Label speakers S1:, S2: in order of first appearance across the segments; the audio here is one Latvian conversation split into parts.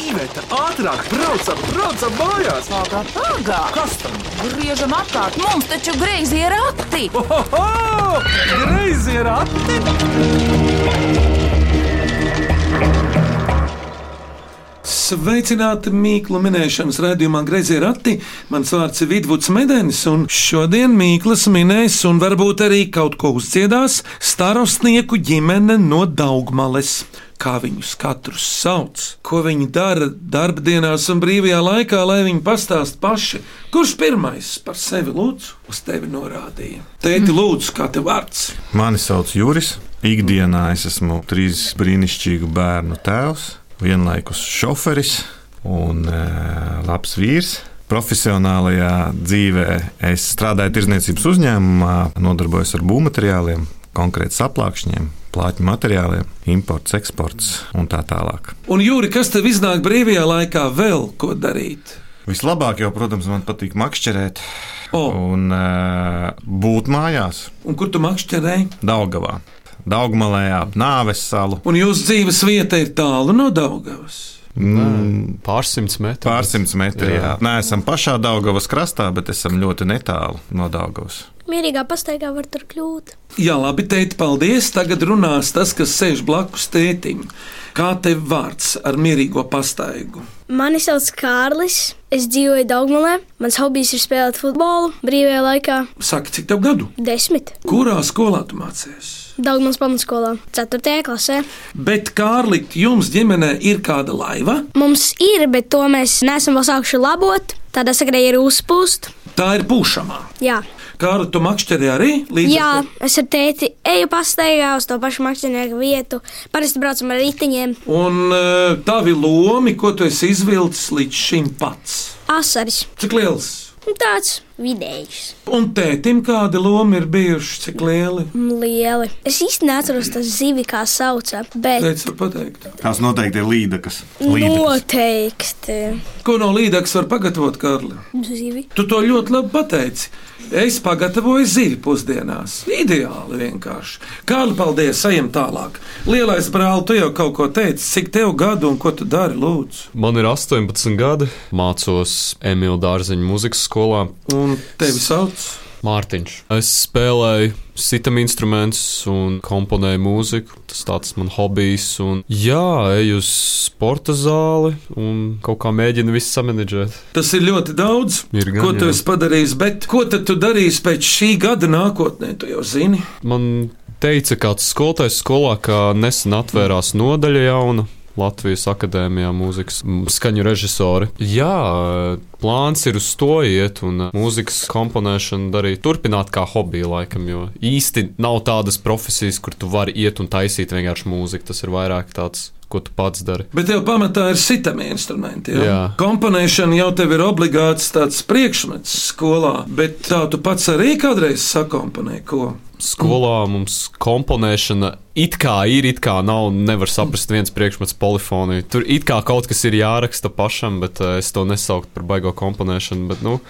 S1: Iveta, ātrāk, braucam, braucam mājās!
S2: Pagā, pagā!
S1: Kas tam?
S2: Griežam apkārt, mums taču greizi ir akti!
S1: Ohoho! Greizi ir ati!
S3: Sveicināti Mīklu minēšanas raidījumā Greizie Rati. Mans vārds ir Vidvuds Medenis, un šodien Mīklas minēs un varbūt arī kaut ko uzdziedās starostnieku ģimene no Daugmales. Kā viņus katru sauc, ko viņi dara darbdienās un brīvajā laikā, lai viņi pastāst paši. Kurš pirmais par sevi lūdzu, uz tevi norādīja? Tēti, lūdzu, kā tev vārds?
S4: Mani sauc Juris. Ikdienā es esmu trīs brīnišķīgu bērnu tēvs, vienlaikus šoferis un e, labs vīrs. Profesionālajā dzīvē es strādāju tirzniecības uzņēmumā, nodarbojos ar būvmateriāliem, konkrēti saplākšņiem, plātņu materiāliem, imports, eksports un tā tālāk.
S3: Un Jūri, kas tev iznāk brīvajā laikā vēl ko darīt?
S4: Vislabāk jau, protams, man patīk makšķerēt
S3: O.
S4: un e, būt mājās
S3: Un kur tu makšķerēji?
S4: Daugavā. Daugmalē ap nāves salu.
S3: Un jūsu dzīves vieta ir tālu no Daugavas.
S4: Mm,
S5: Pārsimts Ah. metru.
S4: Pārsimts metri. Jā.
S5: Jā.
S4: Nē, esam pašā Daugavas krastā, bet esam ļoti netālu no Daugavas.
S6: Mierīgā pastaigā var tur kļūt.
S3: Jā, labi, tēti, paldies. Tagad runās tas, kas sēž blakus tētim. Kā tev vārds ar mierīgo pastaigu?
S6: Mani sauc Kārlis. Es dzīvoju Dārgmulē. Mans hobijs ir spēlēt futbolu brīvajā laikā.
S3: Saki, cik tev gadu?
S6: Desmit.
S3: Kurā skolā tu mācies?
S6: Dārgmulas pamatskolā, 4. klasē.
S3: Bet, Kārli, jums ģimenē ir kāda laiva?
S6: Mums ir, bet to mēs neesam vēl sākuši labot. Tādā sakarā ir uzpūst.
S3: Tā ir pušamā.
S6: Jā,
S3: Kārli, tu makšķerē arī līdz
S6: Jā es ar tēti eju pastaigā uz to pašu mākslinieku vietu. Parasti braucam ar riteņiem.
S3: Un eh, tavi lomi, ko tu esi izvilcis līdz šim pats?
S6: Asaris.
S3: Cik liels?
S6: Nu, Tāds vidējs.
S3: Un tētim kādi lomi ir bijuši, cik lieli?
S6: Lieli. Es īsti neatceros tas zivi, kā sauca, bet
S3: Tētis var pateikt.
S4: Tās noteikti ir līdakas.
S6: noteikti
S3: Ko no līdzekas var pagatavot, Kārli?
S6: zivi.
S3: Tu to ļoti labi pateici. Es pagatavoju zivi pusdienās. Ideāli vienkārši. Kārli, paldies, ejam tālāk. Lielais brāl, tu jau kaut ko teici, cik tev gadu un ko tu dari, lūdzu.
S5: Man ir 18 gadi, mācos Emīļa Dārziņa mūzikas skolā.
S3: Un tevi sauc?
S5: Mārtiņš. Es spēlēju sitam instrumentus un komponēju mūziku. Tas tāds man hobijs. Un, jā, eju uz sporta zāli un kaut kā mēģinu visu samanģēt.
S3: Tas ir ļoti daudz,
S5: Ir gan,
S3: ko tu
S5: jā.
S3: esi padarījis, bet ko tad tu darīsi pēc šī gada nākotnē, tu jau zini.
S5: Man teica kāds skolotājs skolā, ka nesen atvērās nodaļa jauna. Latvijas akadēmijā mūzikas mm, skaņu režisori. Jā, plāns ir uz to iet un uh, mūzikas komponēšanu darīt. Turpināt kā hobiju, laikam, jo īsti nav tādas profesijas, kur tu vari iet un taisīt vienkārši mūziku. Tas ir vairāk tāds, ko tu pats dari.
S3: Bet tev pamatā ir sitami instrumenti. Jā. Jā.
S5: Jā.
S3: Komponēšana jau tev ir obligāts tāds priekšmets skolā, bet tā tu pats arī kādreiz sakomponēji ko.
S5: Skolā mums komponēšana it kā ir, it kā nav. Nevar saprast, viens priekšmets polifonija. Tur it kā kaut kas ir jāraksta pašam, bet eh, es to nesauktu par baigo komponēšanu. Bet, nu,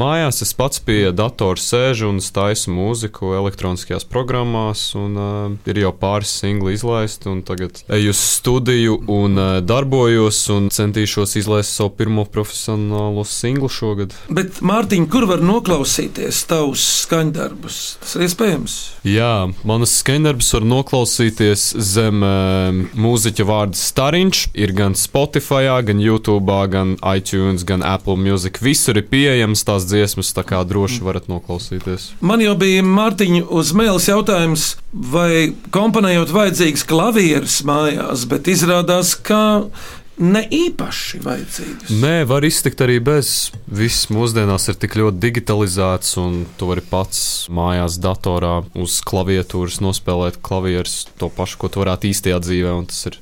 S5: mājās es pats pie datora sēžu un es taisu mūziku elektroniskajās programmās. Un, eh, ir jau pāris singli izlaisti, un tagad eju uz studiju un eh, darbojos un centīšos izlaist savu pirmo profesionālo singlu šogad.
S3: Bet, Mārtiņ, kur var noklausīties tavus skaņdarbus? Tas ir iespējams.
S5: Jā, manas skandarbs var noklausīties zem um, mūziķa vārda Stariņš. Ir gan Spotify, gan YouTube, gan iTunes, gan Apple Music. Visur ir pieejams tās dziesmas, tā kā droši varat noklausīties.
S3: Man jau bija Mārtiņa uz mēles jautājums, vai komponējot vajadzīgs klavieris mājās, bet izrādās, ka ne īpaši vajadzīgs.
S5: Nē, var iztikt arī bez. Viss mūsdienās ir tik ļoti digitalizēts, un tu vari pats mājās, datorā, uz klaviatūras nospēlēt klavierus, to pašu, ko tu varētu īstajā dzīvē. Un tas ir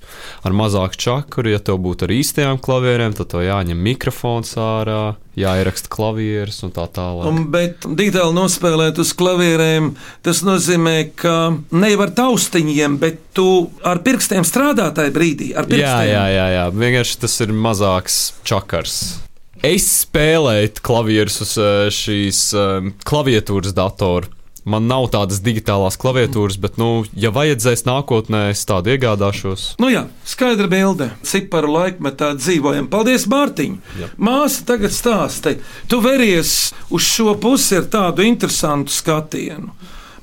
S5: ar mazāku čakuru. Ja tev būtu ar īstajām klavierēm, tad tev jāņem mikrofons ārā, jāieraksta klavieres un tā tālāk.
S3: Un, bet digitāli nospēlēt uz klavierēm, tas nozīmē, ka ne jau ar taustiņiem, bet tu ar pirkstiem strādā tajā brīdī. ar
S5: Jā,
S3: pirkstiem.
S5: jā, jā, jā, vienkārši tas ir mazāks čakars. Es spēlēju klavierus uz eh, šīs eh, uh, um, klaviatūras datora. Man nav tādas digitālās klaviatūras, bet, nu, ja vajadzēs nākotnē, es tādu iegādāšos.
S3: Nu jā, skaidra bilde. Ciparu laikmetā dzīvojam. Paldies, Mārtiņ!
S5: Jā.
S3: Māsa tagad stāsta, tu veries uz šo pusi ar tādu interesantu skatienu.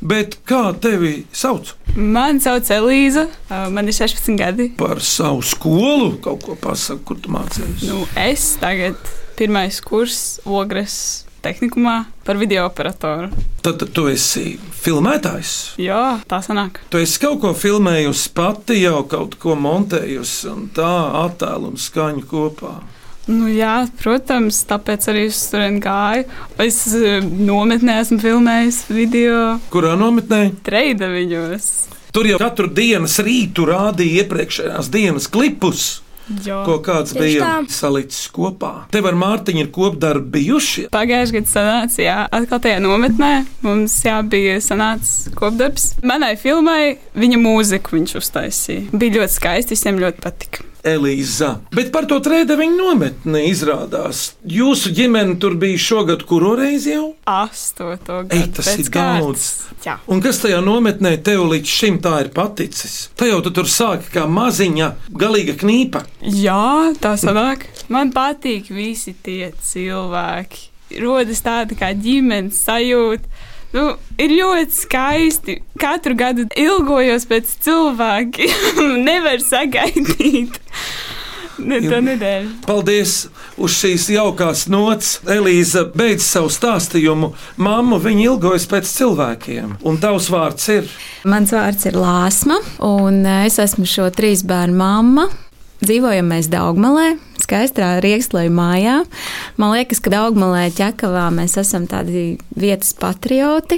S3: Bet kā tevi sauc
S7: Mani sauc Elīza, uh, man ir 16 gadi.
S3: par savu skolu? Kaut ko pasaku, kur tu mācījies?
S7: Nu, es tagad pirmais kurs ogres tehnikumā par video operatoru.
S3: Tad, tad tu esi filmētājs.
S7: Jā, tā sanāk.
S3: Tu esi kaut ko filmējusi pati, jau kaut ko montējusi un tā attēlu un skaņu kopā.
S7: Nu, jā, protams, tāpēc arī es tur gāju. Es uh, nometnē esmu filmējis video
S3: Kurā nometnē?
S7: treida viņos.
S3: Tur jau katru dienas rītu rādīja iepriekšējās dienas klipus.
S7: Jā.
S3: ko kāds
S6: Tieši
S3: bija
S6: tā.
S3: salicis kopā. Tev ar Mārtiņu ir kopdarbi bijuši.
S7: Pagājušajā gadā sanāca, jā, atkal tajā nometnē mums jā, bija sanācis kopdarbs. Manai filmai viņa mūziku viņš uztaisīja. Bija ļoti skaisti, visiem ļoti patika.
S3: Elīza. Bet par to trēdeviņu nometni izrādās. Jūsu ģimene tur bija šogad kuru reizi jau?
S7: astoto gadu.
S3: Ei, tas
S7: pēc
S3: ir daudz.
S7: kārtas. Jā.
S3: Un kas tajā nometnē tev līdz šim tā ir paticis? Tā jau tu tur sāka kā maziņa, galīga knīpa.
S7: Jā, tā sanāk. Man patīk visi tie cilvēki. Rodas tāda kā ģimenes sajūta. Nu, ir ļoti skaisti. Katru gadu ilgojos pēc cilvēkiem. Nevar sagaidīt. Ne, to nedēļu.
S3: Paldies! Uz šīs jaukās nots Elīza beidz savu stāstījumu. Māmu viņa ilgojas pēc cilvēkiem, un tavs vārds ir.
S8: Mans vārds ir Lāsma, un eh, es esmu šo trīs bērnu mamma. Dzīvojam mēs Daugmalē, skaistā Rieksloja mājā. Man liekas, ka Daugmalē ķekavā mēs esam tādi vietas patrioti,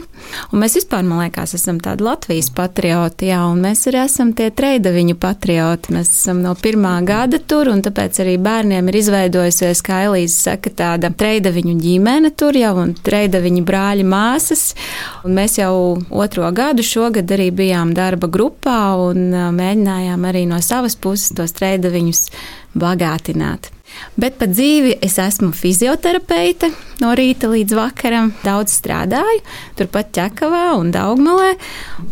S8: un mēs vispār, man liekas, esam tādi Latvijas patrioti, jā, un mēs arī esam tie treidaviņu patrioti. Mēs esam no pirmā gada tur, un tāpēc arī bērniem ir izveidojusies, kā Elīze saka, tāda treidaviņu ģimene tur jau, un treidaviņu brāļi māsas, Un Mēs jau otro gadu šogad arī bijām darba grupā un ā, mēģinājām arī no savas puses tos treidaviņus bagātināt. Bet par dzīvi es esmu fizioterapeite. No rīta līdz vakaram daudz strādāju, turpat ķekavā un daugmalē.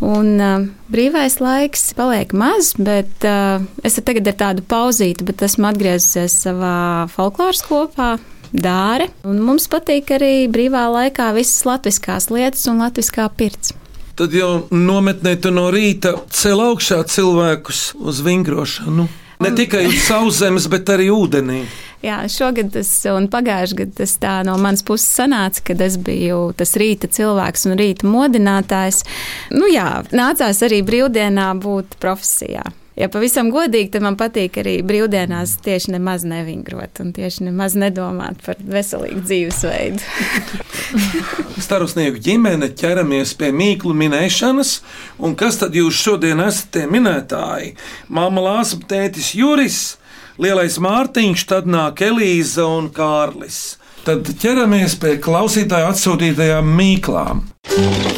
S8: Un, ā, brīvais laiks paliek maz, bet ā, es tagad ar tādu pauzīti, bet esmu atgriezusies savā folkloras kopā dāre. Un mums patīk arī brīvā laikā visas latviskās lietas un latviskā pirts.
S3: Tad jau nometnē tu no rīta cel augšā cilvēkus uz vingrošanu. Ne tikai uz sauszemes, bet arī ūdenī.
S8: Jā, šogad tas un pagājušajā gadā tas tā no manas puses sanāca, kad es biju tas rīta cilvēks un rīta modinātājs. Nu jā, nācās arī brīvdienā būt profesijā. Ja pavisam godīgi, tad man patīk arī brīvdienās tieši nemaz nevingrot un tieši nemaz nedomāt par veselīgu dzīvesveidu.
S3: Starusnieku ģimene ķeramies pie mīklu minēšanas, un kas tad jūs šodien esat tie minētāji? Māma Lāsa, tētis Juris, lielais Mārtiņš, tad nāk Elīza un Kārlis. Tad ķeramies pie klausītāju atsūtītajām mīklām.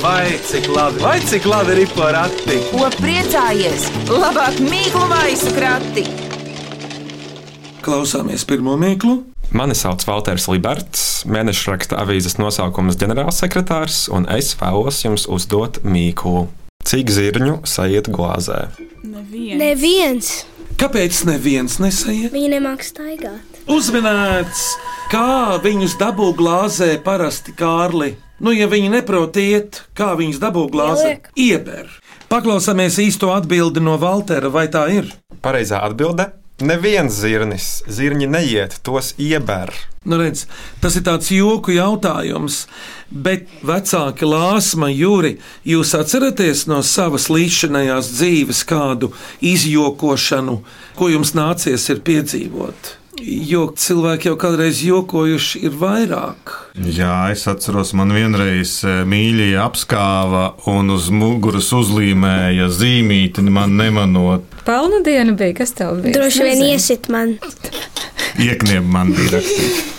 S1: Vai cik labi, vai cik labi ir porakti?
S2: Ko priecājies? Labāk mīklu maisu krati.
S3: Klausāmies pirmo mīklu.
S9: Mani sauc Walters Liberts, mēneša raksta avīzes nosaukums ģenerālsekretārs, un es vēlos jums uzdot mīklu. Cik zirņu sajiet glāzē?
S7: Neviens.
S6: Neviens.
S3: Kāpēc neviens nesaiet?
S6: Viņi nemāks staigāt.
S3: Uzminēts, kā viņus dabū glāzē parasti kārli. Nu, ja viņi neprot iet, kā viņus dabū glāzē,
S6: Ieliek.
S3: ieber. Paklausāmies īsto atbildi no Valtera, vai tā ir?
S9: Pareizā atbilde - neviens zirnis. Zirņi neiet, tos ieber.
S3: Nu, redz, tas ir tāds joku jautājums, bet vecāki lāsma, Jūri, jūs atceraties no savas līdzinājās dzīves kādu izjokošanu, ko jums nācies ir piedzīvot? Jo cilvēki jau kādreiz jokojuši ir vairāk.
S4: Jā, es atceros, man vienreiz eh, mīļie apskāva un uz muguras uzlīmēja zīmīti, man nemanot.
S8: Pelnu diena bija, kas tev bija?
S6: Droši vien
S8: Nezinu.
S6: iesit man.
S4: Iekniep man bija rakstīts.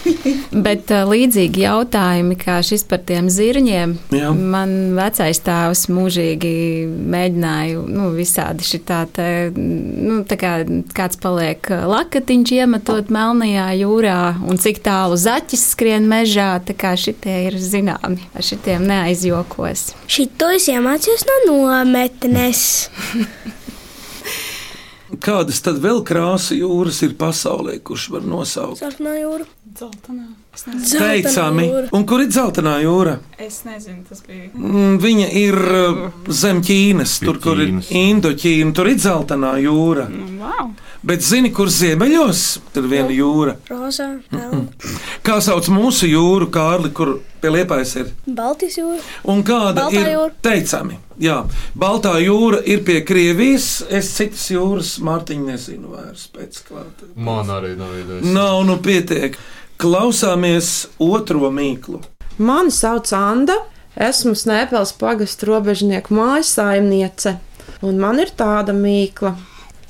S8: Bet ā, līdzīgi jautājumi, kā šis par tiem zirņiem,
S3: Jā.
S8: man vecais tēvs mūžīgi mēģināja, nu, visādi šitā te, nu, tā kā kāds paliek eh, lakatiņš iemetot melnajā jūrā un cik tālu zaķis skrien mežā, tā kā šitie ir zināmi, ar šitiem neaizjokos.
S6: Šito es iemācījos no nometnes.
S3: Kādas tad vēl krāsa jūras ir pasaulē, kurš var nosaukt?
S6: Sarkanā jūra.
S7: Zeltenā. Es, ne...
S6: Zeltenā
S3: Teicami,
S6: jūra.
S3: un kur ir dzeltenā jūra?
S7: es nezinu, tas bija.
S3: Mm, Viņa ir uh, zem Ķīnas, tur, kur ir
S4: Ķīnas.
S3: Indoķīna, tur ir dzeltenā jūra.
S7: Nu, wow.
S3: Bet zini, kur ziemeļos ir viena jūra?
S6: Rozā, melna.
S3: Kā sauc mūsu jūru, Kārli, kur pie liepais ir?
S6: Baltijas jūra.
S3: Un kāda
S6: Baltā
S3: ir
S6: jūra.
S3: teicami? Jā, Baltā jūra ir pie Krievijas, es citas jūras Mārtiņu nezinu vairs pēc klāta.
S5: Man arī nav idejas.
S3: Nav nu pietiek. Klausāmies otro mīklu.
S10: Mani sauc Anna. Esmu Snēpels pagastu robežnieku mājas saimniece, un man ir tāda mīkla.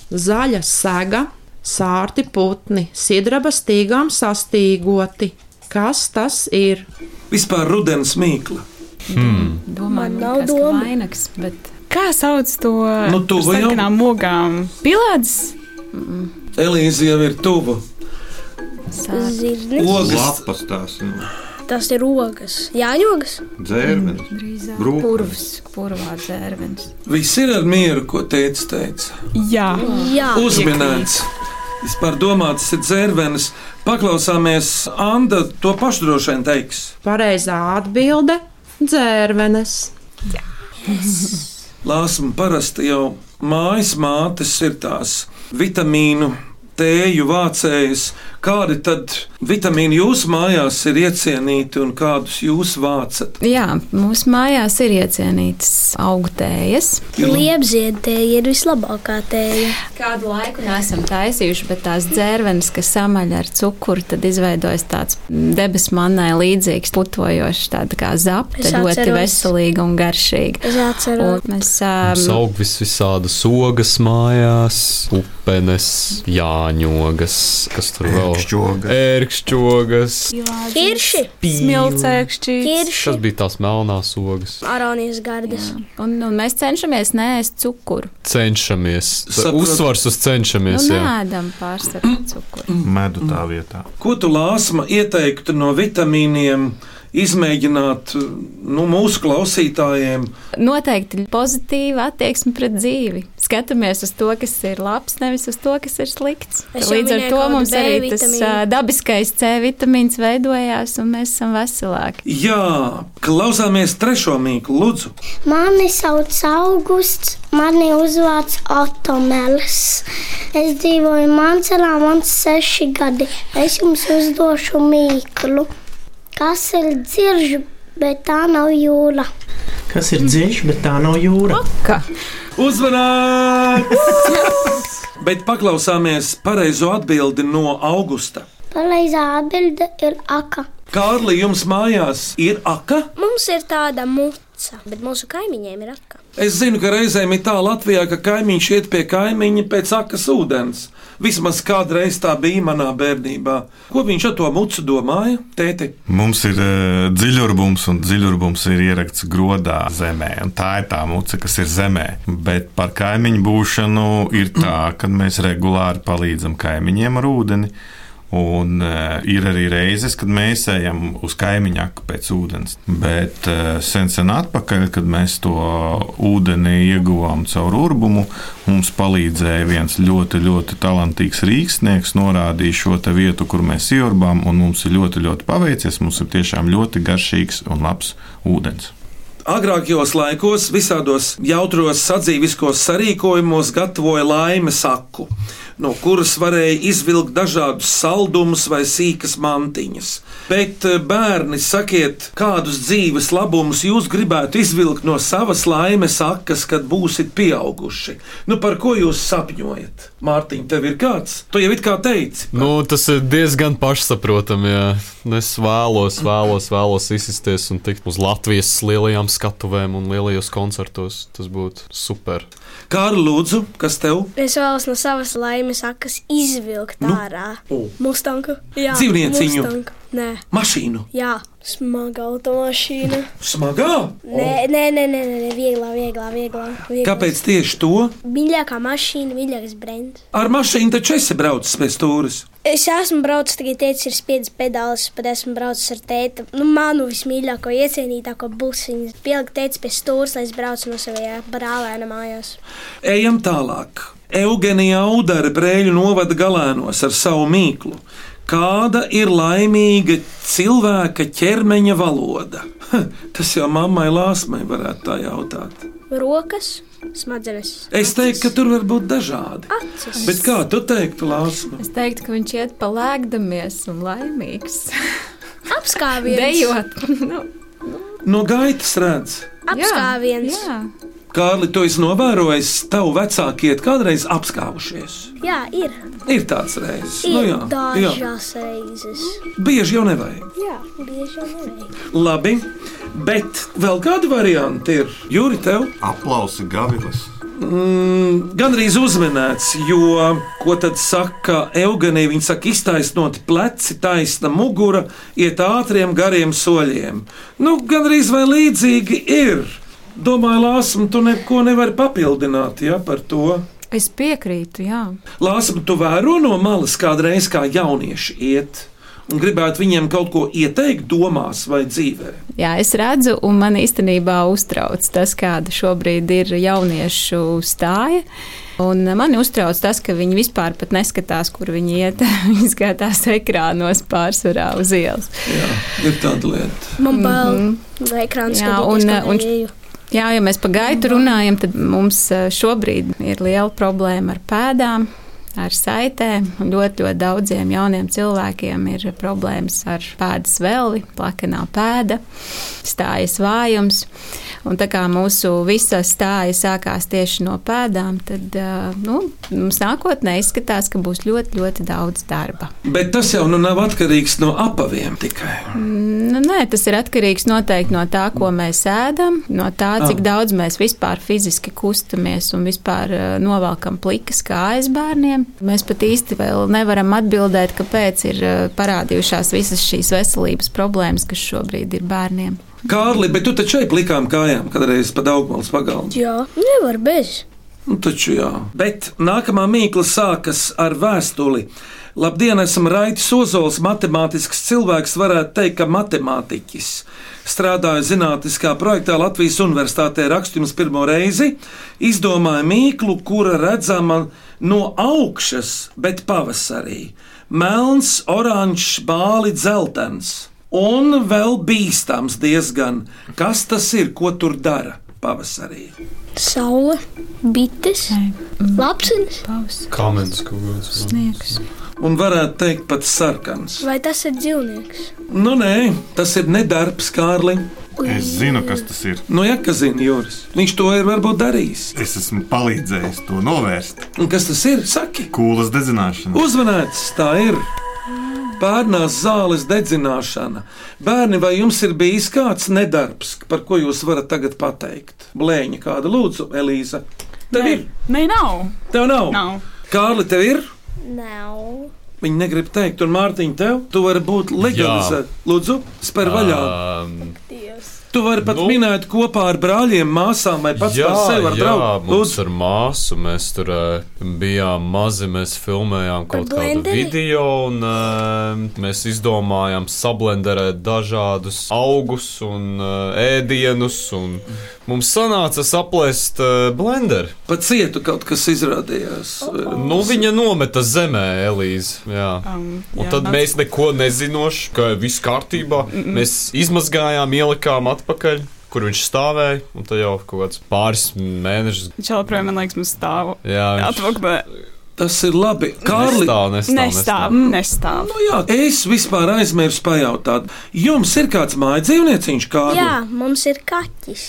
S10: Zaļa sēga, sārti putni, sidraba stīgām sastīgoti. Kas tas ir?
S3: Vispār rudens mīkla.
S8: Domāju,
S6: Man
S8: man
S6: nav
S8: nav domas.
S6: doma.
S8: Vainags, bet
S7: Kā sauc to
S3: Nu, tu vai jau?
S7: sarkanām ogām? Pilāts!
S3: Elīze jau ir tuvu.
S8: sā-
S6: Zirnis.
S3: Ogas
S4: Lapas tās nu,
S6: Tas ir ogas. Jāņogas.
S4: dzērmenis.
S8: drīzāk
S4: Brūknes.
S8: purvs, purvā dzērvens.
S3: viss ir ar mieru, ko teica. teica.
S7: Jā,
S6: Jā.
S3: Uzminēts. Vispār domāts, ir dzērvenis. Paklausāmies, Anna to pašu droši vien teiks.
S10: Pareizā atbilde - dzērvenes.
S3: Lāsma parasti jau mājas mātes ir tās vitamīnu tēju vācējas. Kādi tad vitamīni jūsu mājās ir iecienīti un kādus jūs vācat?
S8: Jā, mūsu mājās ir iecienītas augtējas.
S6: Liepziedēji ir vislabākā tēja.
S8: Kādu laiku nesam taisījuši, bet tās dzērvenes, kas samaļ ar cukuru, tad izveidojas tāds debesu manai līdzīgs, putojošs, tāds kā
S6: Es
S8: zapta,
S6: atceros.
S8: ļoti veselīga un garšīga.
S6: Es
S8: Un
S6: atceros.
S8: mēs
S5: Mums
S8: um,
S5: aug vis visādas ogas mājās, upenes, jāņogas, kas tur vēl
S4: Šķoga.
S5: Ērkšķogas.
S6: Kirši.
S7: smilcēkšķi.
S6: Kirši.
S5: Šas bija tās melnās ogas.
S6: Aronijas gardas.
S8: un, un mēs cenšamies neēst cukuru.
S5: Cenšamies.
S3: Saprotu.
S5: Uzsvars uz
S8: Nu,
S5: cenšamies. jā.
S8: nēdam pārsvaru cukuru.
S4: Medu tā vietā.
S3: Ko tu lāsma ieteiktu no vitamīniem? Izmēģināt nu, mūsu klausītājiem,
S8: Noteikti pozitīva attieksme pret dzīvi. Skatāmies uz to, kas ir labs, nevis uz to, kas ir slikts.
S6: Es jau
S8: Līdz ar
S6: minēju
S8: to
S6: kaut
S8: mums
S6: B
S8: arī tas
S6: vitamīnu.
S8: ā, dabiskais C vitamīns veidojās, un mēs esam veselāki.
S3: jā, klausāmies trešo mīklu, lūdzu.
S11: Mani sauc Augusts, mani uzvārds Otomēlis. Es dzīvoju Mancelā, man ir seši gadi. Es jums uzdošu mīklu. Kas ir dzirdžs, bet tā nav jūra?
S12: Kas ir dziļš, bet tā nav jūra.
S3: Uzmanīgs! Bet paklausāmies pareizo atbildi no augusta.
S11: Pareizā atbilde ir aka.
S3: Kārli, jums mājās ir aka?
S6: Mums ir tāda muca, bet mūsu kaimiņiem ir atkal.
S3: Es zinu, ka reizēm ir tā Latvijā, ka kaimiņš iet pie kaimiņa pēc akas ūdens. Vismaz kādreiz tā bija manā bērnībā. Ko viņš ar to mucu domāja? Tēti,
S4: Mums ir uh, dziļurbums, un dziļurbums ir ierakts grodā zemē. un Tā ir tā muca, kas ir zemē. Bet par kaimiņu būšanu ir tā, ka mēs regulāri palīdzam kaimiņiem ar ūdeni. Un uh, ir arī reizes, kad mēs ejam uz kaimiņu aku pēc ūdens. Bet uh, sen, sen atpakaļ, kad mēs to ūdeni ieguvām caur urbumu, mums palīdzēja viens ļoti, ļoti talantīgs rīksnieks, norādīja šo te vietu, kur mēs iejurbām, un mums ir ļoti, ļoti paveicies. Mums ir tiešām ļoti garšīgs un labs ūdens.
S3: agrākajos laikos visādos jautros sadzīviskos sarīkojumos gatavoja laimes saku, no kuras varēja izvilkt dažādus saldumus vai sīkas mantiņas. Bet, eh, bērni, sakiet, kādus dzīves labumus jūs gribētu izvilkt no savas laimes sakas, kad būsiet pieauguši? Nu, par ko jūs sapņojat? Mārtiņ, tev ir kāds? Tu jau it kā teici.
S5: Nu, tas ir diezgan pašsaprotami. Jā. Nu, Es vēlos, vēlos, vēlos izsisties un tikt uz Latvijas lielajām skatuvēm un lielajos koncertos. Tas būtu super.
S3: Kārli, lūdzu, kas tev?
S6: Es vēlos no savas laimes nozīmē sākas izvilkt
S3: Nu.
S6: ārā.
S3: O.
S6: Mustanku. Jā,
S3: Dzīvnieciņu.
S6: Mustangu. Nē.
S3: Mašīnu.
S6: Jā, smaga automašīna.
S3: Smagā?
S6: Nē, nē, nē, nē, nē, nē vieglā, vieglā, vieglā. vieglā.
S3: Kāpēc tieši to?
S6: Mīļākā mašīna, mīļākais brands.
S3: Ar mašīnu taču esi braucis pēc stūres.
S6: Es esmu braucis, tagad teicis, ir spiedzis pedālis, bet esmu braucis ar tēti. Nu, manu vismīļāko, iecienītāko busiņu. Pielikt teicis pie stūres, lai es braucu no saviem brālēniem mājās.
S3: Ejam tālāk. Eugenija Audara brēļu novada galēnos ar savu mīklu. Kāda ir laimīga cilvēka ķermeņa valoda? Ha, Tas jau mammai lāsmai varētu tā jautāt.
S6: Rokas, smadzenes.
S3: Es teiktu, ka tur var būt dažādi.
S6: Acis.
S3: Bet kā tu teiktu, lāsma?
S8: Es teiktu, ka viņš iet pa lēkdamies un laimīgs.
S6: Apskāviens.
S8: Dejot. nu,
S3: No gaitas redz.
S6: Apskāviens.
S8: Jā,
S3: Kārli, tu esi novērojis, tavu vecāki iet kādreiz apskāvušies.
S6: jā. jā ir.
S3: Ir tāds reizes.
S6: Ir
S3: Nu, jā, jā.
S6: dažās reizes.
S3: Bieži jau nevajag.
S6: Jā, bieži vien.
S3: Labi, bet vēl kāda varianta ir? Jūri, tev?
S13: Aplausi Gavilis.
S3: Mm, Gan arī uzminēts, jo, ko tad saka Eugenija? Viņa saka, iztaisnoti pleci, taisna mugura, iet ātriem, gariem soļiem. Nu, gan arī vai līdzīgi ir. Domāju, Lāsam, tu neko nevari papildināt ja, par to.
S8: es piekrītu, jā.
S3: Lāsam, tu vēro no malas kādreiz kā jaunieši iet un gribētu viņiem kaut ko ieteikt domās vai dzīvē.
S8: Jā, es redzu, un man īstenībā uztrauc tas, kāda šobrīd ir jauniešu stāja. Un man uztrauc tas, ka viņi vispār pat neskatās, kur viņi iet. viņi skatās ekrānos pārsvarā uz ielas.
S3: Ir tāda lieta.
S6: Man bail
S8: Mhm.
S6: no ekrāna
S8: Jā,
S6: skatīties,
S8: un,
S6: kā
S8: un-
S6: eju.
S8: Jā, ja mēs par gaitu runājam, tad mums eh, šobrīd ir liela problēma ar pēdām, ar saitēm. Un Ļoti, ļoti daudziem jauniem cilvēkiem ir problēmas ar pēdas vēli, plakanā pēda, stājas vājums. Un tā kā mūsu visa stāja sākās tieši no pēdām, tad eh, nu, mums nākotnē izskatās, ka būs ļoti, ļoti daudz darba.
S3: Bet tas jau nu nav atkarīgs no apaviem tikai.
S8: Nu, nē, tas ir atkarīgs noteikti no tā, ko mēs ēdam, no tā, cik
S3: Ah.
S8: daudz mēs vispār fiziski kustamies un vispār eh, novelkam plikas kājas bērniem. Mēs pat īsti vēl nevaram atbildēt, kāpēc ir eh, parādījušās visas šīs veselības problēmas, kas šobrīd ir bērniem.
S3: Kārli, bet tu taču šeit likām kājām, kad reizes pa Daugmales pagalmu.
S6: Jā, nevar bez.
S3: Nu, taču jā. Bet nākamā mīkla sākas ar vēstuli. Labdien, esam Raitas Ozols, matemātisks cilvēks, varētu teikt, ka matemātiķis. Strādāju zinātniskā projektā Latvijas Universitātē rakstījums pirmo reizi, izdomāju mīklu, kura redzama no augšas, bet pavasarī. Melns, oranžs, bāli, dzeltens. Un vēl bīstams diezgan. Kas tas ir, ko tur dara pavasarī?
S6: Saule, bites, Mm. lapsenis.
S5: Kamens kaut kāds.
S8: Sniegs.
S3: Un varētu teikt, pat sarkans.
S6: Vai tas ir dzīvnieks?
S3: Nu, nē, tas ir nedarbs, Kārli. Nu,
S13: Es zinu, kas tas ir.
S3: No Jakazina jūras. Viņš to ir varbūt darījis.
S13: Es esmu palīdzējis to novērst.
S3: Un kas tas ir? Saki,
S13: Kūlas dedzināšana.
S3: uzvanēts, tā ir. Pērnās zāles dedzināšana. Bērni, vai jums ir bijis kāds nedarbs, par ko jūs varat tagad pateikt? Blēņa kāda, lūdzu, Elīza. Tev ir?
S7: Nē, nav.
S3: Tev nav.
S7: Nav.
S3: Kārli, tev ir?
S6: Nav.
S3: Viņi negrib teikt, un Mārtiņ, tev, tu vari būt legalizēta. Lūdzu, spēr vaļā.
S5: Um,
S3: Tu vari pat nu, minēt kopā ar brāļiem, māsām vai pats
S5: jā,
S3: par sevi var
S5: jā,
S3: braukt.
S5: mums ar māsu mēs tur eh, bijām mazi, mēs filmējām kaut kādu
S3: blenderi?
S5: video, un eh, mēs izdomājām sablenderēt dažādus augus un eh, ēdienus, un mums sanāca saplēst eh, blenderi.
S3: Pa cietu kaut kas izrādījās.
S5: Nu, viņa nometa zemē, Elīze. Jā.
S7: Um,
S5: Un
S7: jā,
S5: tad
S7: nāc- Mm,
S5: mēs neko nezinām, ka viss kārtībā.
S7: Mm-mm.
S5: Mēs izmazgājām, ielikām atpakaļ, kur viņš stāvēja. Un tad jau kaut kāds pāris mēnešus.
S7: Viņš joprojām, man liekas, mums stāv.
S5: Jā, viņš
S7: Atvainojiet,
S3: Tas ir labi. Kārli,
S5: Nestāv, nestāv,
S7: nestāv.
S5: nestāv.
S7: nestāv.
S3: Nu, jā, es vispār aizmirsu pajautāt. Jums ir kāds mājas dzīvnieciņš, Kārli?
S6: Jā, mums ir kaķis.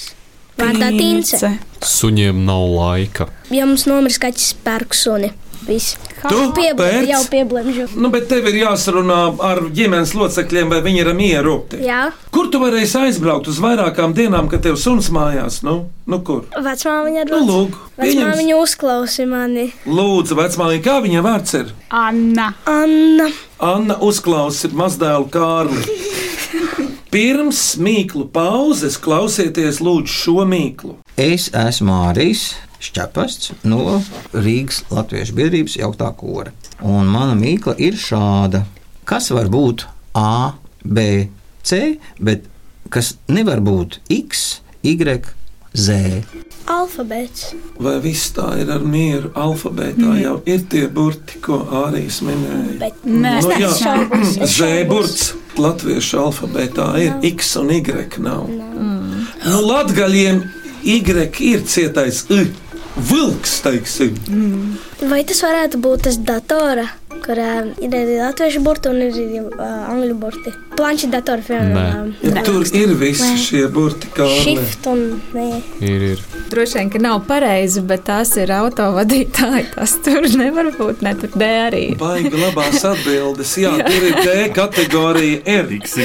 S6: Vārdā tīnce.
S5: Suņiem nav laika.
S6: Ja mums nomirst kaķis, pērk suni. viss.
S3: Tu
S6: Pieblem-
S3: Oh, pēc?
S6: jau pieblēmžu.
S3: Nu, bet tev ir jāsarunā ar ģimenes locekļiem, vai viņi ir mieru.
S6: Jā,
S3: Kur tu varēsi aizbraukt uz vairākām dienām, kad tev suns mājās? Nu, nu kur?
S6: vecmāmiņa
S3: Nu, lūk, pieņems.
S6: Vecmāmiņa uzklausa mani.
S3: Lūdzu, vecmāmiņa, kā viņa vārds ir?
S7: Anna.
S6: Anna.
S3: Anna uzklausa mazdēlu Kārli. Pirms mīklu pauzes klausieties lūdzu šo mīklu.
S14: Es esmu Mārijas Čepasts no Rīgas Latvijas biedrības jauktā kora. Un mana mīkla ir šāda. Kas var būt A, B, C, bet kas nevar būt X, Y, Z?
S6: Alfabēts.
S3: Vai viss tā ir ar mieru? Alfabētā
S6: Mm.
S3: jau ir tie burti, ko Ārijas minēja.
S6: Bet- Nē, es neesmu šaubos, es
S3: nu, zēburts latviešu alfabētā ir X un Y nav. Nu, Latgaļiem Y ir cietais I. Vilks, teiksim.
S6: Vai tas varētu būt tas datora, kurā ir arī latviešu burti un ir arī uh, angļu burti? Planšeta datora, piemēram.
S3: Ja tur ir visi
S6: Nē.
S3: šie burti, kā arī.
S6: Shift un nē.
S5: Ir, ir.
S8: Droši vien, ka nav pareizi, bet tās ir autovadītāji. Tas tur nevar būt ne tur D arī.
S3: Baigi labās atbildes. Jā, tur ir D kategorija, R. XY
S8: Miks,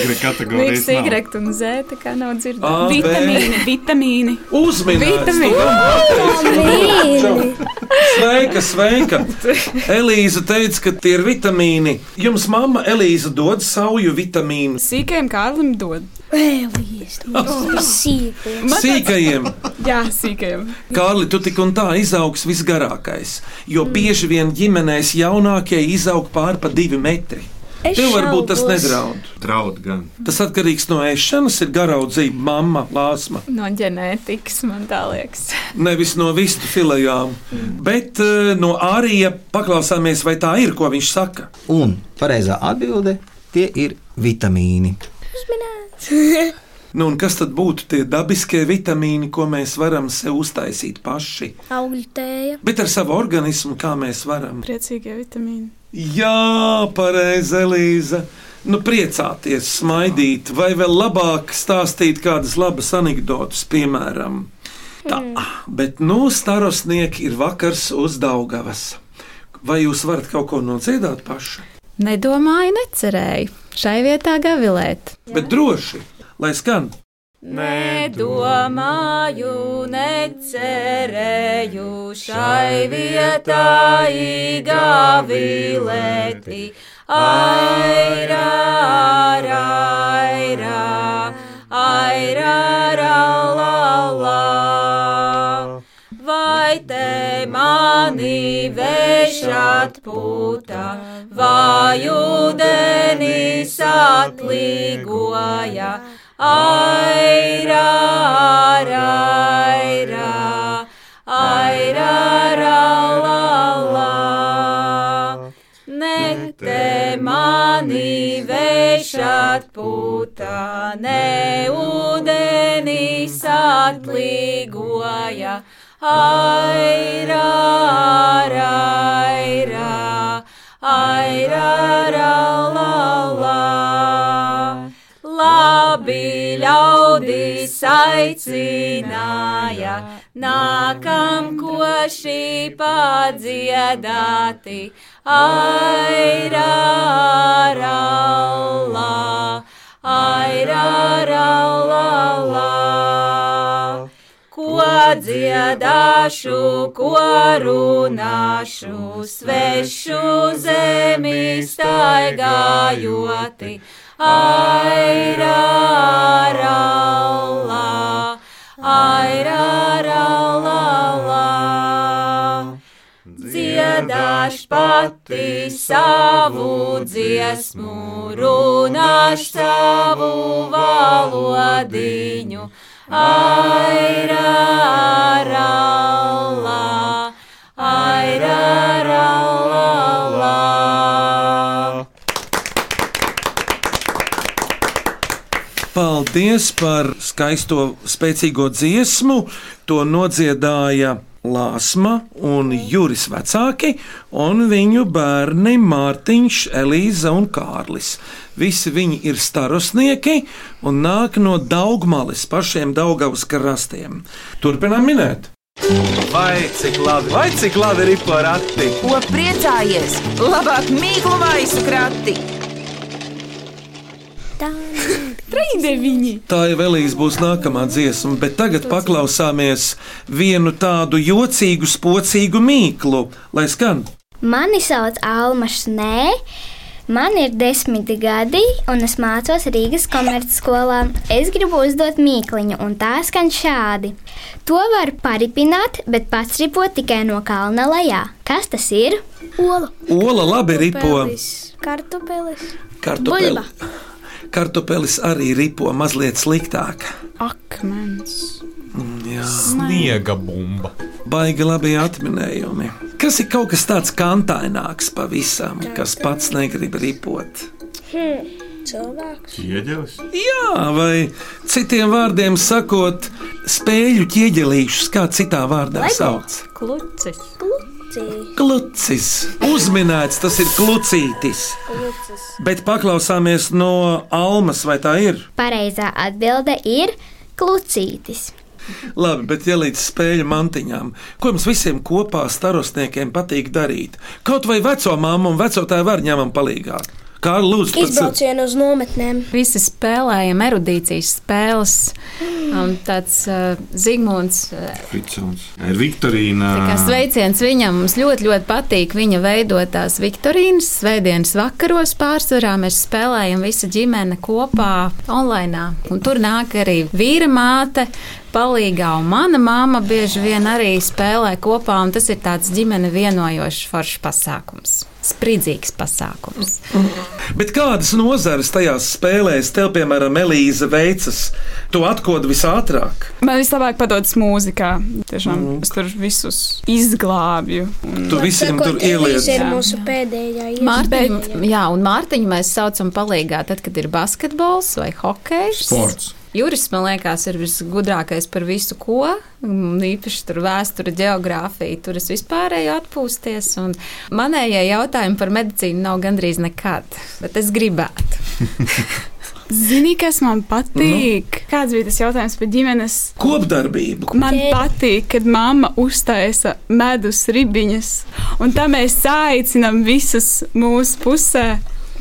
S8: Y un Z tā kā nav
S3: A,
S8: dzirdama.
S3: B.
S7: Vitamīni, vitamīni.
S3: Uzmanīgi!
S7: Vitamīni!
S3: Sveika, sveika! Elīza teica, ka tie ir vitamīni. Jums mamma Elīza dod sauju vitamīnu.
S7: Sīkajam Kārlim dod. Man tāds-
S3: Sīkajiem,
S7: Jā, sīkajam.
S3: Kārli, tu tik un tā izaugs visgarākais, jo bieži vien ģimenēs jaunākie izaug pāri pa divi metri.
S6: Es
S3: Tev varbūt tas
S6: šaubos.
S3: nedraud.
S13: Draud gan.
S3: Tas atkarīgs no ēšanas, ir garaudzība, mamma, lāsma.
S8: No ģenētikas man tā liekas.
S3: Nevis no vistu filējām, bet eh, no ārija paklausāmies, vai tā ir, ko viņš saka.
S14: Un pareizā atbilde - tie ir vitamīni.
S3: Nu, un kas tad būtu tie dabiskie vitamīni, ko mēs varam sev uztaisīt paši?
S6: Augļu tēja.
S3: Bet ar savu organismu, kā mēs varam?
S7: Priecīgie vitamīni.
S3: Jā, pareizi, Elīza. Nu, priecāties, smaidīt, vai vēl labāk stāstīt kādas labas anekdotas, piemēram. Tā, bet nu, starosnieki ir vakars uz Daugavas. Vai jūs varat kaut ko nodziedāt paši?
S8: Nedomāju, necerēju. Šai vietā gavilēt.
S3: Bet droši, lai skan.
S15: Nedomāju, necerēju šai vietā igavilēti. Airā, airā, airā, airā, airā, la, la. Vai te mani vējš atpūta, vai ūdenis atlīgoja? Aira, aira, aira, aira, aira, la, la. Ne te mani vējš atpūta, ne ūdenis atlīgoja. Aira, aira, aira, aira, aira, la, la. Labi ļaudis aicināja, nākam ko šī padziedāti. Aira, aira, la, aira, aira, la, la. Ko dziedāšu, ko runāšu, svešu zemi staigājoti. Aira, aira, la, aira, aira, la, la. Dziedāš pati savu dziesmu, runāš savu valodiņu. Aira, aira, la, aira, aira, la, la.
S3: Paldies par skaisto, spēcīgo dziesmu. To nodziedāja Lāsma un Juris vecāki, un viņu bērni Mārtiņš, Elīza un Kārlis. Visi viņi ir starosnieki un nāk no Daugmales, pašiem Daugavas krastiem. Turpinām minēt!
S1: Vai cik labi, vai cik labi ir porakti?
S2: Ko priecājies? Labāk mīklu maisu krati.
S7: Trīsdeviņi!
S3: Tā jau vēlīs būs nākamā dziesma, bet tagad paklausāmies vienu tādu jocīgu, spocīgu mīklu, lai skan.
S16: Mani sauc Alma Šnē. Man ir desmit gadi, un es mācos Rīgas komercskolā. Es gribu uzdot mīkliņu, un tā skan šādi. To var paripināt, bet pats ripo tikai no kalna lejā. Kas tas ir?
S6: Ola,
S3: Ola labi ripo.
S6: kartupelis,
S3: Kartupeli.
S6: Buļba.
S3: Kartupelis arī ripo mazliet sliktāk.
S7: Akmens.
S3: Jā.
S5: Sniega bumba.
S3: Baigi labi atminējumi. Kas ir kaut kas tāds kantaināks pavisam, kas pats negrib ripot?
S6: cilvēks,
S13: Ieģelis.
S3: Jā, vai citiem vārdiem sakot, spēļu ķieģelīšus, kā citā vārdā sauc.
S15: Klucis.
S3: Klucis. Uzminēts tas ir klucītis.
S16: Klucis.
S3: Bet paklausāmies no Almas, vai tā ir?
S16: Pareizā atbilde ir klucītis.
S3: Labi, bet ja līdz spēļu mantiņām, ko mums visiem kopā starostniekiem patīk darīt? Kaut vai veco māmu un veco tēvu var ņemam palīgā. Kā lūdzu, pats-
S6: uz nometnēm.
S8: Visi spēlējam erudīcijas spēles. Um, tāds uh, Zigmunds uh,
S13: Ficons. Ir Viktorīna.
S4: Ah.
S8: Kā sveiciens viņam. Mums ļoti, ļoti patīk viņa veidotās Viktorīnas. Svētdienas vakaros pārsvarā mēs spēlējam visu ģimeni kopā online. Un tur nāk arī vīra māte. Palīgā, un mana mamma bieži vien arī spēlē kopā, un tas ir tāds ģimene vienojošs foršs pasākums. Spridzīgs pasākums.
S3: Bet kādas nozares tajās spēlēs, tev, piemēram, Elīze veicas, to atkod visātrāk?
S7: Man vislabāk padodas mūzikā. Tiešām mm. es tur visus izglābju. Un...
S3: Tu visiem tur ieliec.
S6: mūsu pēdējā
S8: Mārtiņu, jā, un Mārtiņu mēs saucam palīgā, tad, kad ir basketbols vai hokejs.
S13: Sports.
S8: Juris, man liekas, ir visgudrākais par visu, ko. Un Īpaši tur vēsture, geogrāfija, tur es vispārēju atpūsties. Un manējie jautājumi par medicīnu nav gandrīz nekad, bet es gribētu.
S7: Zini, kas man patīk? Nu. Kāds bija tas jautājums par ģimenes?
S3: Kopdarbību.
S7: Man patīk, kad mamma uztaisa medus ribiņas, un tā mēs aicinām visas mūsu pusē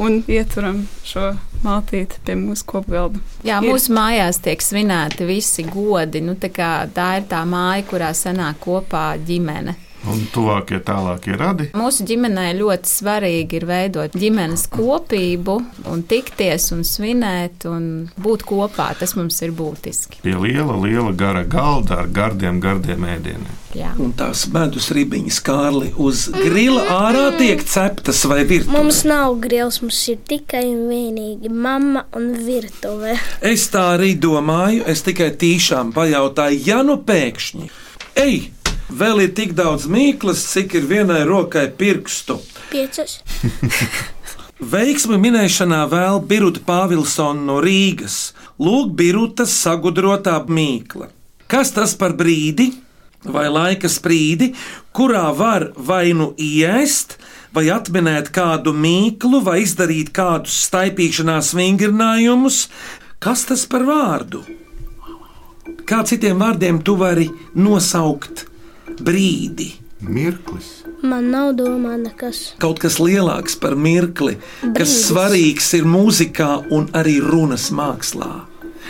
S7: un ieturam šo maltīti pie mūsu kopgalda.
S8: Jā,
S7: Ir.
S8: mūsu mājās tiek svinēti visi godi. Nu, tā, kā, tā ir tā māja, kurā sanāk kopā ģimene.
S13: Un tuvākie, tālākie radi.
S8: Mūsu ģimenē ļoti svarīgi ir veidot ģimenes kopību, un tikties un svinēt un būt kopā. Tas mums ir būtiski.
S13: Pie liela, liela gara galda ar gardiem, gardiem ēdieniem.
S8: Jā.
S3: Un tās medus ribiņas, Kārli, uz grila ārā tiek ceptas vai virtuvē.
S6: Mums nav grils, mums ir tikai un vienīgi mamma un virtuve.
S3: Es tā arī domāju, es tikai tīšām pajautāju, ja nu pēkšņi. Ej, vēl ir tik daudz mīklas, cik ir vienai rokai pirkstu.
S6: Piecas.
S3: Veiksmi minēšanā vēl Birta Pāvilsona no Rīgas. Lūk, Birta sagudrotā mīkla. Kas tas par brīdi vai laika sprīdi, kurā var vai nu iest, vai atminēt kādu mīklu, vai izdarīt kādus staipīšanās vingrinājumus? Kas tas par vārdu? Kā citiem vārdiem tu vari nosaukt brīdi? Mirklis
S6: Man nav domā nekas.
S3: kaut kas lielāks par mirkli, Brīdis. kas
S6: Brīdis.
S3: svarīgs ir mūzikā un arī runas mākslā,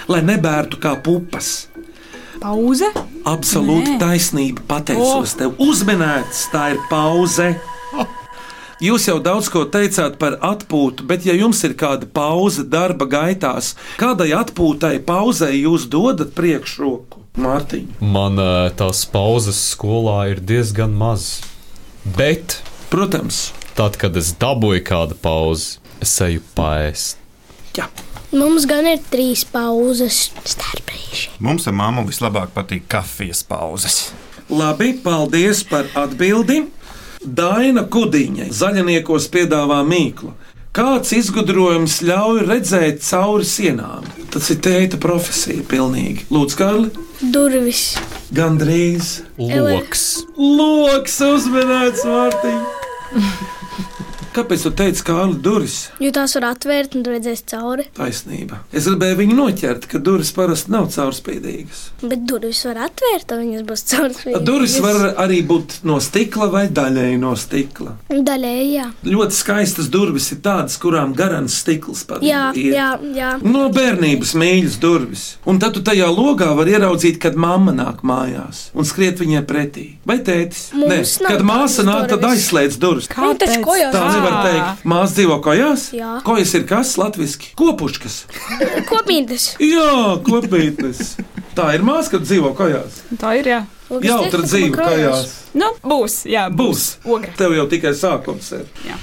S3: lai nebērtu kā pupas.
S7: Pauze?
S3: Absolūti
S7: Nē.
S3: taisnība, pateicos oh.
S7: O.
S3: tev. Uzminēts, tā ir pauze. Jūs jau daudz ko teicāt par atpūtu, bet ja jums ir kāda pauze darba gaitās, kādai atpūtai, pauzei jūs dodat priekšroku? Mārtiņ,
S5: Man ā, tās pauzes skolā ir diezgan maz. Bet,
S3: protams,
S5: tad, kad es dabūju kādu pauzi, es eju paēst.
S6: Mums gan ir trīs pauzes starp brīžiem.
S13: Mums ar māmu vislabāk patīk kafijas pauzes.
S3: Labi, paldies par atbildi. Daina Kudiņa zaļniekos piedāvā mīklu. Kāds izgudrojums ļauj redzēt cauri sienām? Tas ir tēta profesija, pilnīgi. Lūdzu, Kārli,
S6: Durvis.
S3: gandrīz.
S6: Loks.
S3: Loks uzmanēts, Mārtiņ. Kāpēc tu teici, ka Āla durvis?
S6: Jo tās var atvērt un tur redzēs cauri.
S3: Taisnība. Es gribēju viņu noķert, ka durvis parasti nav caurspīdīgas.
S6: Bet durvis var atvērt, un viņas būs caurspīdīgas.
S3: Durvis var arī būt no stikla vai daļēji no stikla.
S6: Daļēji, jā.
S3: Ļoti skaistas durvis ir tādas, kurām garants stikls pat
S6: Jā,
S3: ir.
S6: jā, jā.
S3: No bērnības mīļas durvis. Un tad tu tajā logā vari ieraudzīt, kad mamma nāk mājās un skriet viņai pretī. Vai tētis?
S6: Mums nav
S3: kad māsa
S6: tādas
S3: nāk, tad
S6: durvis.
S3: aizslēdz durvis.
S6: Nu, taču kojās
S3: Tā
S6: dzīvo.
S3: nevar teikt. Māsa dzīvo kojās?
S6: Jā.
S3: Kojas ir kas? Latviski. Kopuškas.
S6: Kopīgas.
S3: Jā, kopītnes. Tā ir māsa, kad dzīvo kojās.
S7: Tā ir jā.
S3: Jā, tur dzīvo kojās.
S7: Nu, būs, jā,
S3: Būs.
S7: Ogra.
S3: Tev jau tikai sākums ir.
S7: Jā.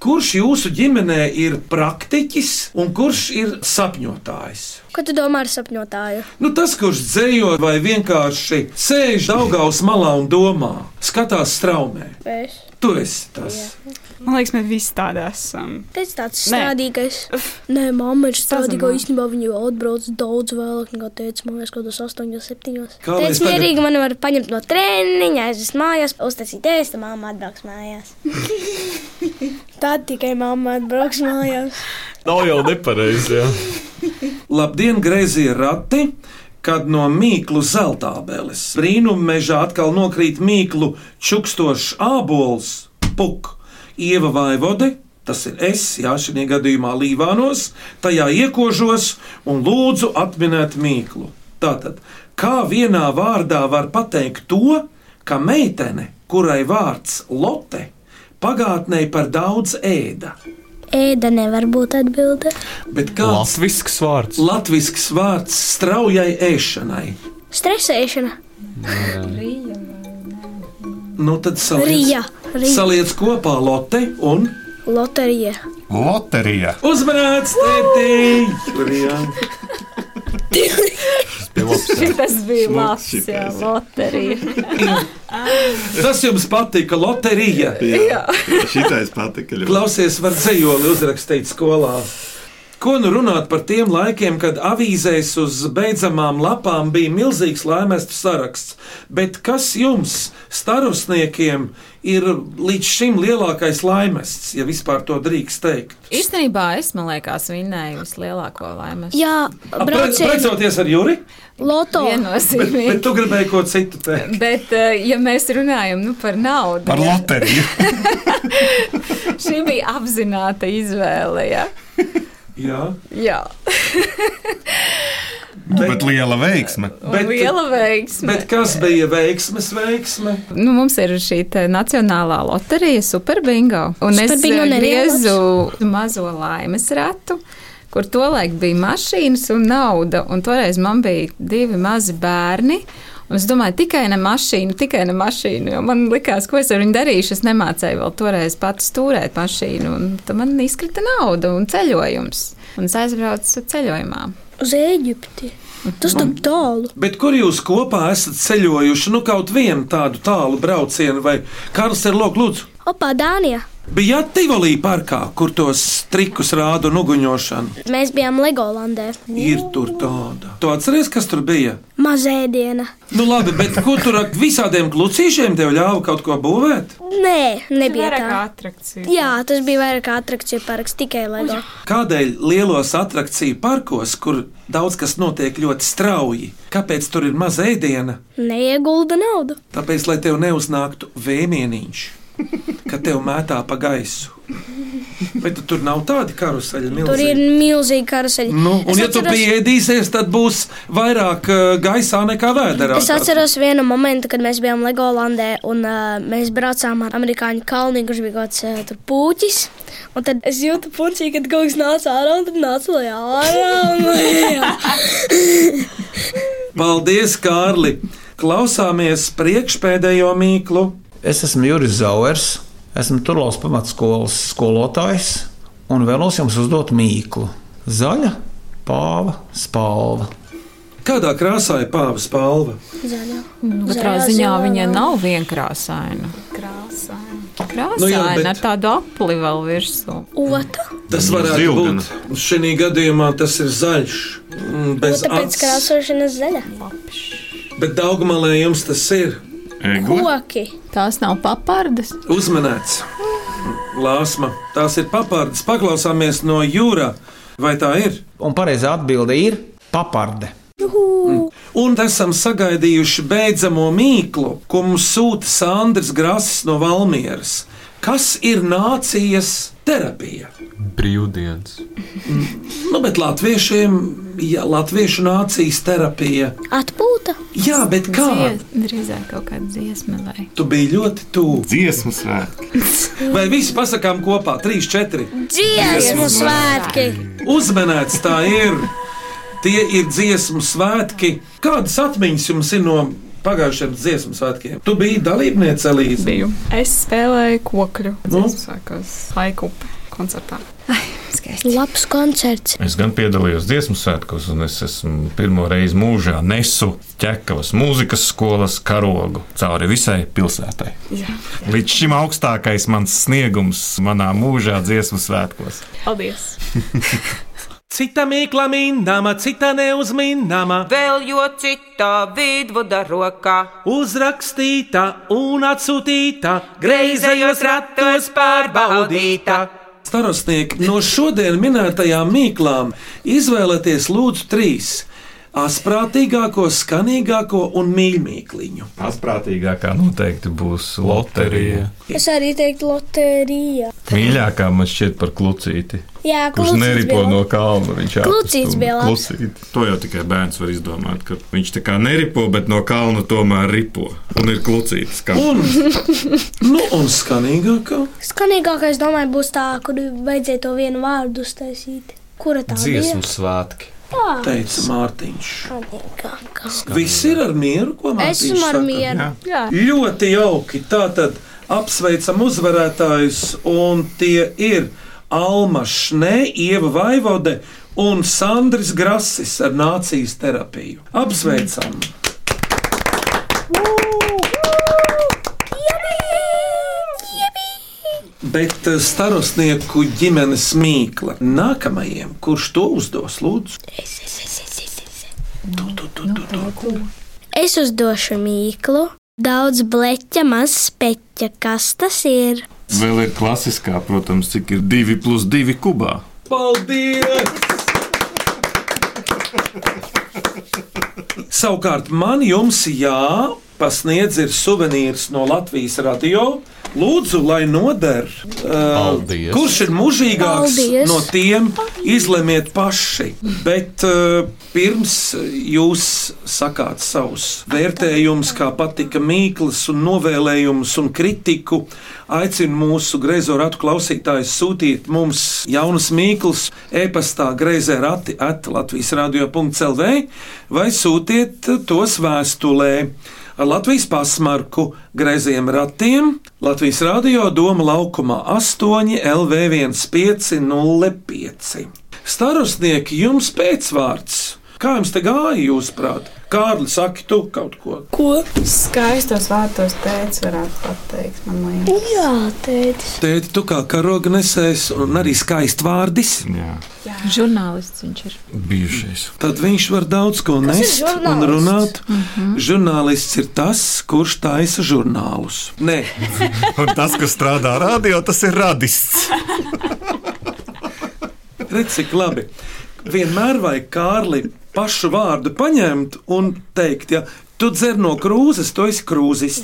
S3: Kurš jūsu ģimenē ir praktiķis un kurš ir sapņotājs?
S6: Ko tu domā ar sapņotāju?
S3: Nu, tas, kurš dzējo vai vienkārši sēž daudzgaus malā un domā, skatās straumē.
S6: Es.
S3: Tu esi tas.
S7: Man liekas, mēs visi tādi esam.
S6: Tas tāds
S7: Nē.
S6: strādīgais. Nē, mamma ir strādīga.
S7: Sazumā.
S6: Īstenībā viņa jau atbrauc daudz vēlāk, nekā teica. Man liekas, kaut kas 8, 7.
S3: Kā lai es
S6: Teic,
S3: tagad-
S6: mierīgi man var paņemt no treniņa, aizvest mājās, uztaisīt ēst, un mamma atbrauks mājās. Tad tikai mamma atbrauks mājās.
S5: Nav jau nepareizi. jā.
S3: Labdien, grazīgi rati! Kad no mīklu zelta abeles brīnuma mežā atkal nokrīt mīklu čukstošs ābols, puk, ieva vai vode. Tas ir es, jā, šajā gadījumā Līvānos, tajā iekožos un lūdzu atminēt mīklu. Tātad, kā vienā vārdā var pateikt to, ka meitene, kurai vārds Lotte, pagātnē par daudz ēda?
S6: Ēda nevar būt atbilde.
S3: Bet kāds
S5: Latvijas vārds?
S3: Latvijas vārds straujai ēšanai.
S6: Stresēšana.
S3: Nu, tad
S6: Rija,
S3: saliec,
S6: rija.
S3: saliec kopā lote un
S6: Loterija.
S13: Loterija.
S3: uzmanīts tētī!
S15: Tas bija labs,
S3: Smuki,
S15: jā, loterija.
S3: Tas jums patika, loterija.
S15: Jā.
S13: Šitais patika ļoti.
S3: Klausies, var dzējoli uzrakstīt skolā. Ko nu runāt par tiem laikiem, kad avīzēs uz beidzamām lapām bija milzīgs laimestu saraksts, bet kas jums, starosniekiem, ir līdz šim lielākais laimests, ja vispār to drīkst teikt?
S8: Īstenībā es, man liekas, vinnēju vislielāko laimes.
S6: Jā,
S3: A, pre- Precēties ar Juri?
S6: Loto.
S3: Bet,
S8: Viennozīmīgi.
S3: bet tu gribēji ko citu teikt.
S8: Bet, eh, ja mēs runājam nu, par naudu,
S3: Par
S8: ja,
S3: loteriju.
S8: šī bija apzināta izvēle. Ja?
S3: Jā,
S8: Jā,
S13: Bet liela veiksme.
S3: eh,
S8: bet, liela veiksme.
S3: Bet kas bija veiksmes veiksme?
S8: Nu, mums ir šī te nacionālā loterija, Superbingo. Un es
S6: Superbingo
S8: eh,
S6: nereāls.
S8: griezu mazo laimes ratu. Kur tolaik bija mašīnas un nauda, un toreiz man bija divi mazi bērni. Un Es domāju, tikai ne mašīnu, tikai ne mašīnu. jo Man likās, ko es ar viņu darīšu. Es nemācīju vēl toreiz pats stūrēt mašīnu. un Tad man izkrita nauda un ceļojums. Un es aizbraucu ceļojumā.
S6: Uz Eģipti. Tas tam tālu.
S3: Bet kur jūs kopā esat ceļojuši? Nu, kaut vienu tādu tālu braucienu, vai Karls ir Lūk, Lūdzu.
S6: Opa, Dānija.
S3: Bija Tivoli parkā, kur tos trikus rāda un uguņošanu.
S6: Mēs bijām Legolandē.
S3: Ir tur tāda. Tu atceries, kas tur bija?
S6: Mazēdiena.
S3: Nu, labi, bet ko tur ar visādiem glucīšiem tev ļāva kaut ko būvēt?
S6: Nē, nebija
S7: vairāk
S6: tā.
S7: kā atrakcija.
S6: Jā, tas bija vairāk kā atrakcija parks, tikai Lego.
S3: Kādēļ lielos attrakciju parkos, kur daudz kas notiek ļoti strauji, kāpēc tur ir maza ēdiena?
S6: Neiegulda naudu.
S3: Tāpēc, lai tev neuznāktu vēmieniņš, kad tev mētā pa gaisu. Bet tu tur nav tādi karuseļi
S6: Milzīgi. Tur ir
S3: milzīgi.
S6: milzīgi karuseļi.
S3: Nu,
S6: Es
S3: un, ja tu
S6: atceros-
S3: pieēdīsies, tad būs vairāk uh, gaisā nekā vēdā.
S6: Es atceros vienu momentu, kad mēs bijām Legolandē un uh, mēs braucām ar amerikāņu kalnu, kurš bija kaut kāds uh, tur puķis. Un tad es jūtu puķi, kad kaut kas nāca ārā un tad nāca lejā ārā. un lejā.
S3: Paldies, Kārli! Klausāmies priekšpēdējo mīklu.
S12: Es esmu Juris Zauers, esmu Turlaus pamatskolas skolotājs un vēlos jums uzdot mīklu. Zaļa, pāva, spalva.
S3: Kādā krāsā ir pāvis palva?
S6: Zaļā.
S8: Katrā
S7: Zaļā,
S8: ziņā
S7: zaļā,
S8: viņa
S7: zaļā.
S8: nav vienkrāsaina.
S7: Krāsaini.
S8: Krāsaina
S3: Nu
S8: nu
S3: jā, bet-
S8: ar tādu apli vēl virsū.
S6: Ota.
S3: Tas varētu Zilgana. būt. Šī gadījumā tas ir zaļš. mm, Bez
S6: Nu, Tāpēc
S3: acis.
S6: krāsošanas zaļa.
S3: Bet daudzumā jums tas ir
S6: Koki.
S8: Tās nav papardes.
S3: uzmanēts. Lāsma, tās ir papardes. Paklausāmies no jūra, vai tā ir?
S12: Un pareizā atbilde ir paparde.
S3: Un esam sagaidījuši beidzamo mīklu, ko mums sūta Sandrs Grāsis no Valmieras. Kas ir nācijas terapija?
S5: Brīvdienas.
S3: Nu, bet latviešiem, ja latviešu nācijas terapija,
S6: Atpūta.
S3: Jā, bet kā?
S8: Dzies- Drīzāk kaut kāda dziesma vai
S3: tu biji ļoti tuvu. Dziesmu svētki. Vai visi pasakām kopā, trīs, četri?
S6: Dziesmu svētki.
S3: Uzmanēts tā ir. Tie ir dziesmu svētki. Kādas atmiņas jums ir no pagājušiem dziesmu svētkiem? Tu biji dalībniece Elīze.
S7: Biju. Es spēlēju kokļu.
S3: Nu?
S7: Es sākos laiku koncertā.
S6: Skaisti. Labs koncerts.
S13: Es gan piedalījos dziesmu svētkos, un es esmu pirmo reizi mūžā nesu ķekavas mūzikas skolas karogu cauri visai pilsētai.
S7: Jā.
S13: Līdz šim augstākais mans sniegums manā mūžā dziesmu svētkos.
S7: Paldies!
S3: Cita mīkla minama, cita neuzminama,
S2: vēl jo citā vidvuda rokā.
S3: Uzrakstīta un atsūtīta,
S2: greizējos ratos pārbaudīta.
S3: Starostnieki, no šodien minētajām mīklām izvēlieties lūdzu trīs - asprātīgāko, skanīgāko un mīļākliņu.
S4: Asprātīgākā noteikti būs loterija.
S6: Es arī teiktu loterija.
S4: Mīļākā man šķiet par klucīti.
S6: Jā,
S4: Kurš
S6: klucīts
S4: neripo
S6: bija
S4: no
S6: labs.
S4: kalna? Viņš
S6: Klucīts bija labs.
S13: To jau tikai bērns var izdomāt, ka viņš tā kā neripo, bet no kalna tomēr ripo. Un ir klucīts, kā
S3: Nu, un skanīgākā
S6: Skanīgākais, domāju, būs tā, kur vajadzēja to vienu vārdu uztaisīt. Kura tā
S5: Dziesmu
S6: bija?
S5: svētki.
S6: Jā.
S3: teica Mārtiņš.
S6: Skanīgākā.
S3: Viss ir ar mieru, ko mēs
S6: Esmu ar mieru. Jā.
S3: Ļoti jauki. Tātad apsveicam uzvarētājus, un tie ir Alma Šnē, Ieva Vaivode un Sandris Grasis ar nācijas terapiju. Apsveicam! Bet eh, starostnieku ģimenes mīkla nākamajam, kurš to uzdos, lūdzu.
S6: Es uzdošu mīklu. Daudz bleķa, maz speķa. Kas tas ir?
S13: vēl ir klasiskā, protams, cik ir 2 plus 2 kubā.
S3: Paldies! Savukārt man jums jāpasniedz ir suvenīrs no Latvijas radio. Lūdzu, lai noder. Uh,
S5: Paldies.
S3: kurš ir mūžīgāks
S6: Paldies.
S3: no tiem, izlemiet paši. Bet uh, pirms jūs sakāt savus vērtējumus, kā patika mīklas, un novēlējumus un kritiku, aicinu mūsu greizo ratu klausītājus sūtīt mums jaunas mīklas, e-pastā greizē rati atlatvijas radio.clv vai sūtiet tos vēstulē ar Latvijas pasmarku, grazījiem ratiem, Latvijas radio Doma laukumā 8 LV1505. Starostnieki, jums pēcvārds! Kā jums te gāja, jūsuprāt? Kārli, saki, tu kaut ko.
S7: Ko? Skaistos vārtos teicis, varētu pateikt, man liekas.
S6: Jā, tēti.
S3: Tēti, tu kā karoga nesējs un arī skaists vārdis. Jā.
S8: žurnālists viņš ir.
S3: Bijušais. Tad viņš var daudz ko
S8: Kas ir
S3: nest un
S8: žurnālists? Mhm.
S3: runāt. Žurnālists ir tas, kurš taisa žurnālus. Nē,
S13: Un tas, kas strādā radio, tas ir radists.
S3: Redz, cik labi. Vienmēr vajag Kārli pašu vārdu paņemt un teikt, ja tu dzer no krūzes, tu esi krūzis.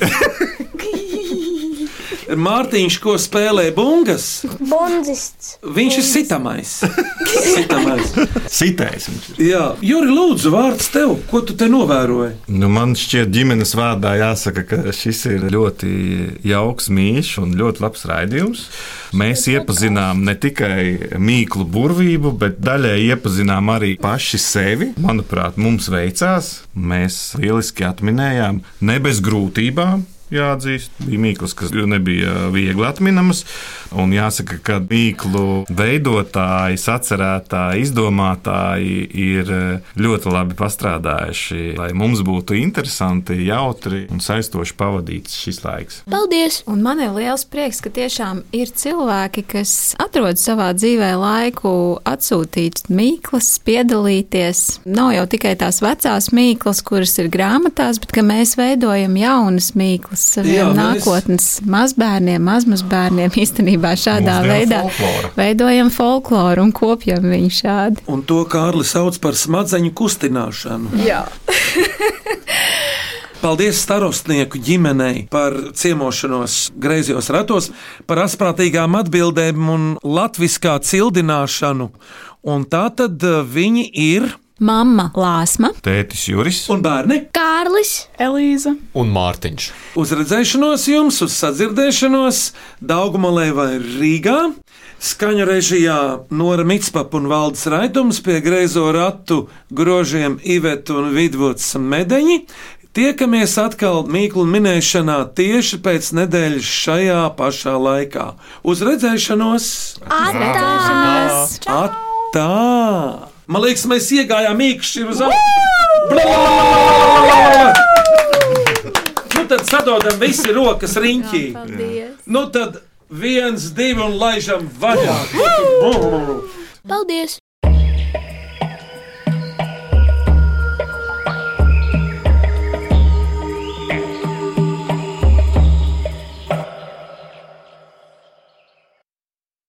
S3: Mārtiņš, ko spēlē bungas,
S6: Bonzists.
S3: viņš ir sitamais. sitamais.
S13: Sitējis viņš.
S3: Jā, Juri, lūdzu, vārds tev, ko tu te novēroji?
S4: Nu, man šķiet, ģimenes vārdā jāsaka, ka šis ir ļoti jauks, mīļš un ļoti labs raidījums. Mēs iepazīstinām ne tikai mīklu burvību, bet daļai iepazīstinām arī paši sevi. Manuprāt, mums veicās. Mēs lieliski atminējām, ne bez grūtībām. Jāatzīst, bija mīklas, kas nebija viegli atminamas. Un jāsaka, ka mīklu veidotāji, sacerētāji, izdomātāji ir eh, ļoti labi pastrādājuši, lai mums būtu interesanti, jautri un aizstoši pavadīts šis laiks.
S6: Paldies!
S8: Un man ir liels prieks, ka tiešām ir cilvēki, kas atrod savā dzīvē laiku atsūtīt mīklas, piedalīties. Nav jau tikai tās vecās mīklas, kuras ir grāmatās, bet ka mēs veidojam jaunas mīklas. mīklas saviem
S3: Jā, mēs-
S8: nākotnes mazbērniem, mazmazbērniem. Īstenībā šādā
S3: Mūsdienu
S8: veidā
S3: folkloru.
S8: veidojam folkloru un kopjam viņu šādi.
S3: Un to Kārlis sauc par smadzeņu kustināšanu.
S17: Jā.
S3: Paldies starostnieku ģimenei par ciemošanos greizajos ratos, par asprātīgām atbildēm un latviskā cildināšanu. Un tā tad eh, viņi ir
S8: Mama Lāsma,
S4: Tētis Juris
S3: un bērni.
S8: Kārlis,
S7: Elīza.
S5: un Mārtiņš.
S3: Uz redzēšanos jums, uz sadzirdēšanos Daugumalē vai Rīgā. Skaņu režijā Nora Mitspapa un Valdes Raitums pie greizo ratu grožiem Ivetu un Vidvuds Medeņi. Tiekamies atkal mīklu minēšanā tieši pēc nedēļas šajā pašā laikā. Uz redzēšanos!
S11: Atās!
S3: Atā! Man liekas, mēs iegājām īkšķi uz
S11: Woo!
S3: augšu. Nu tad sadodam visi rokas riņķī. Nu tad viens, divi un laižam vaļā. Brr!
S6: Paldies!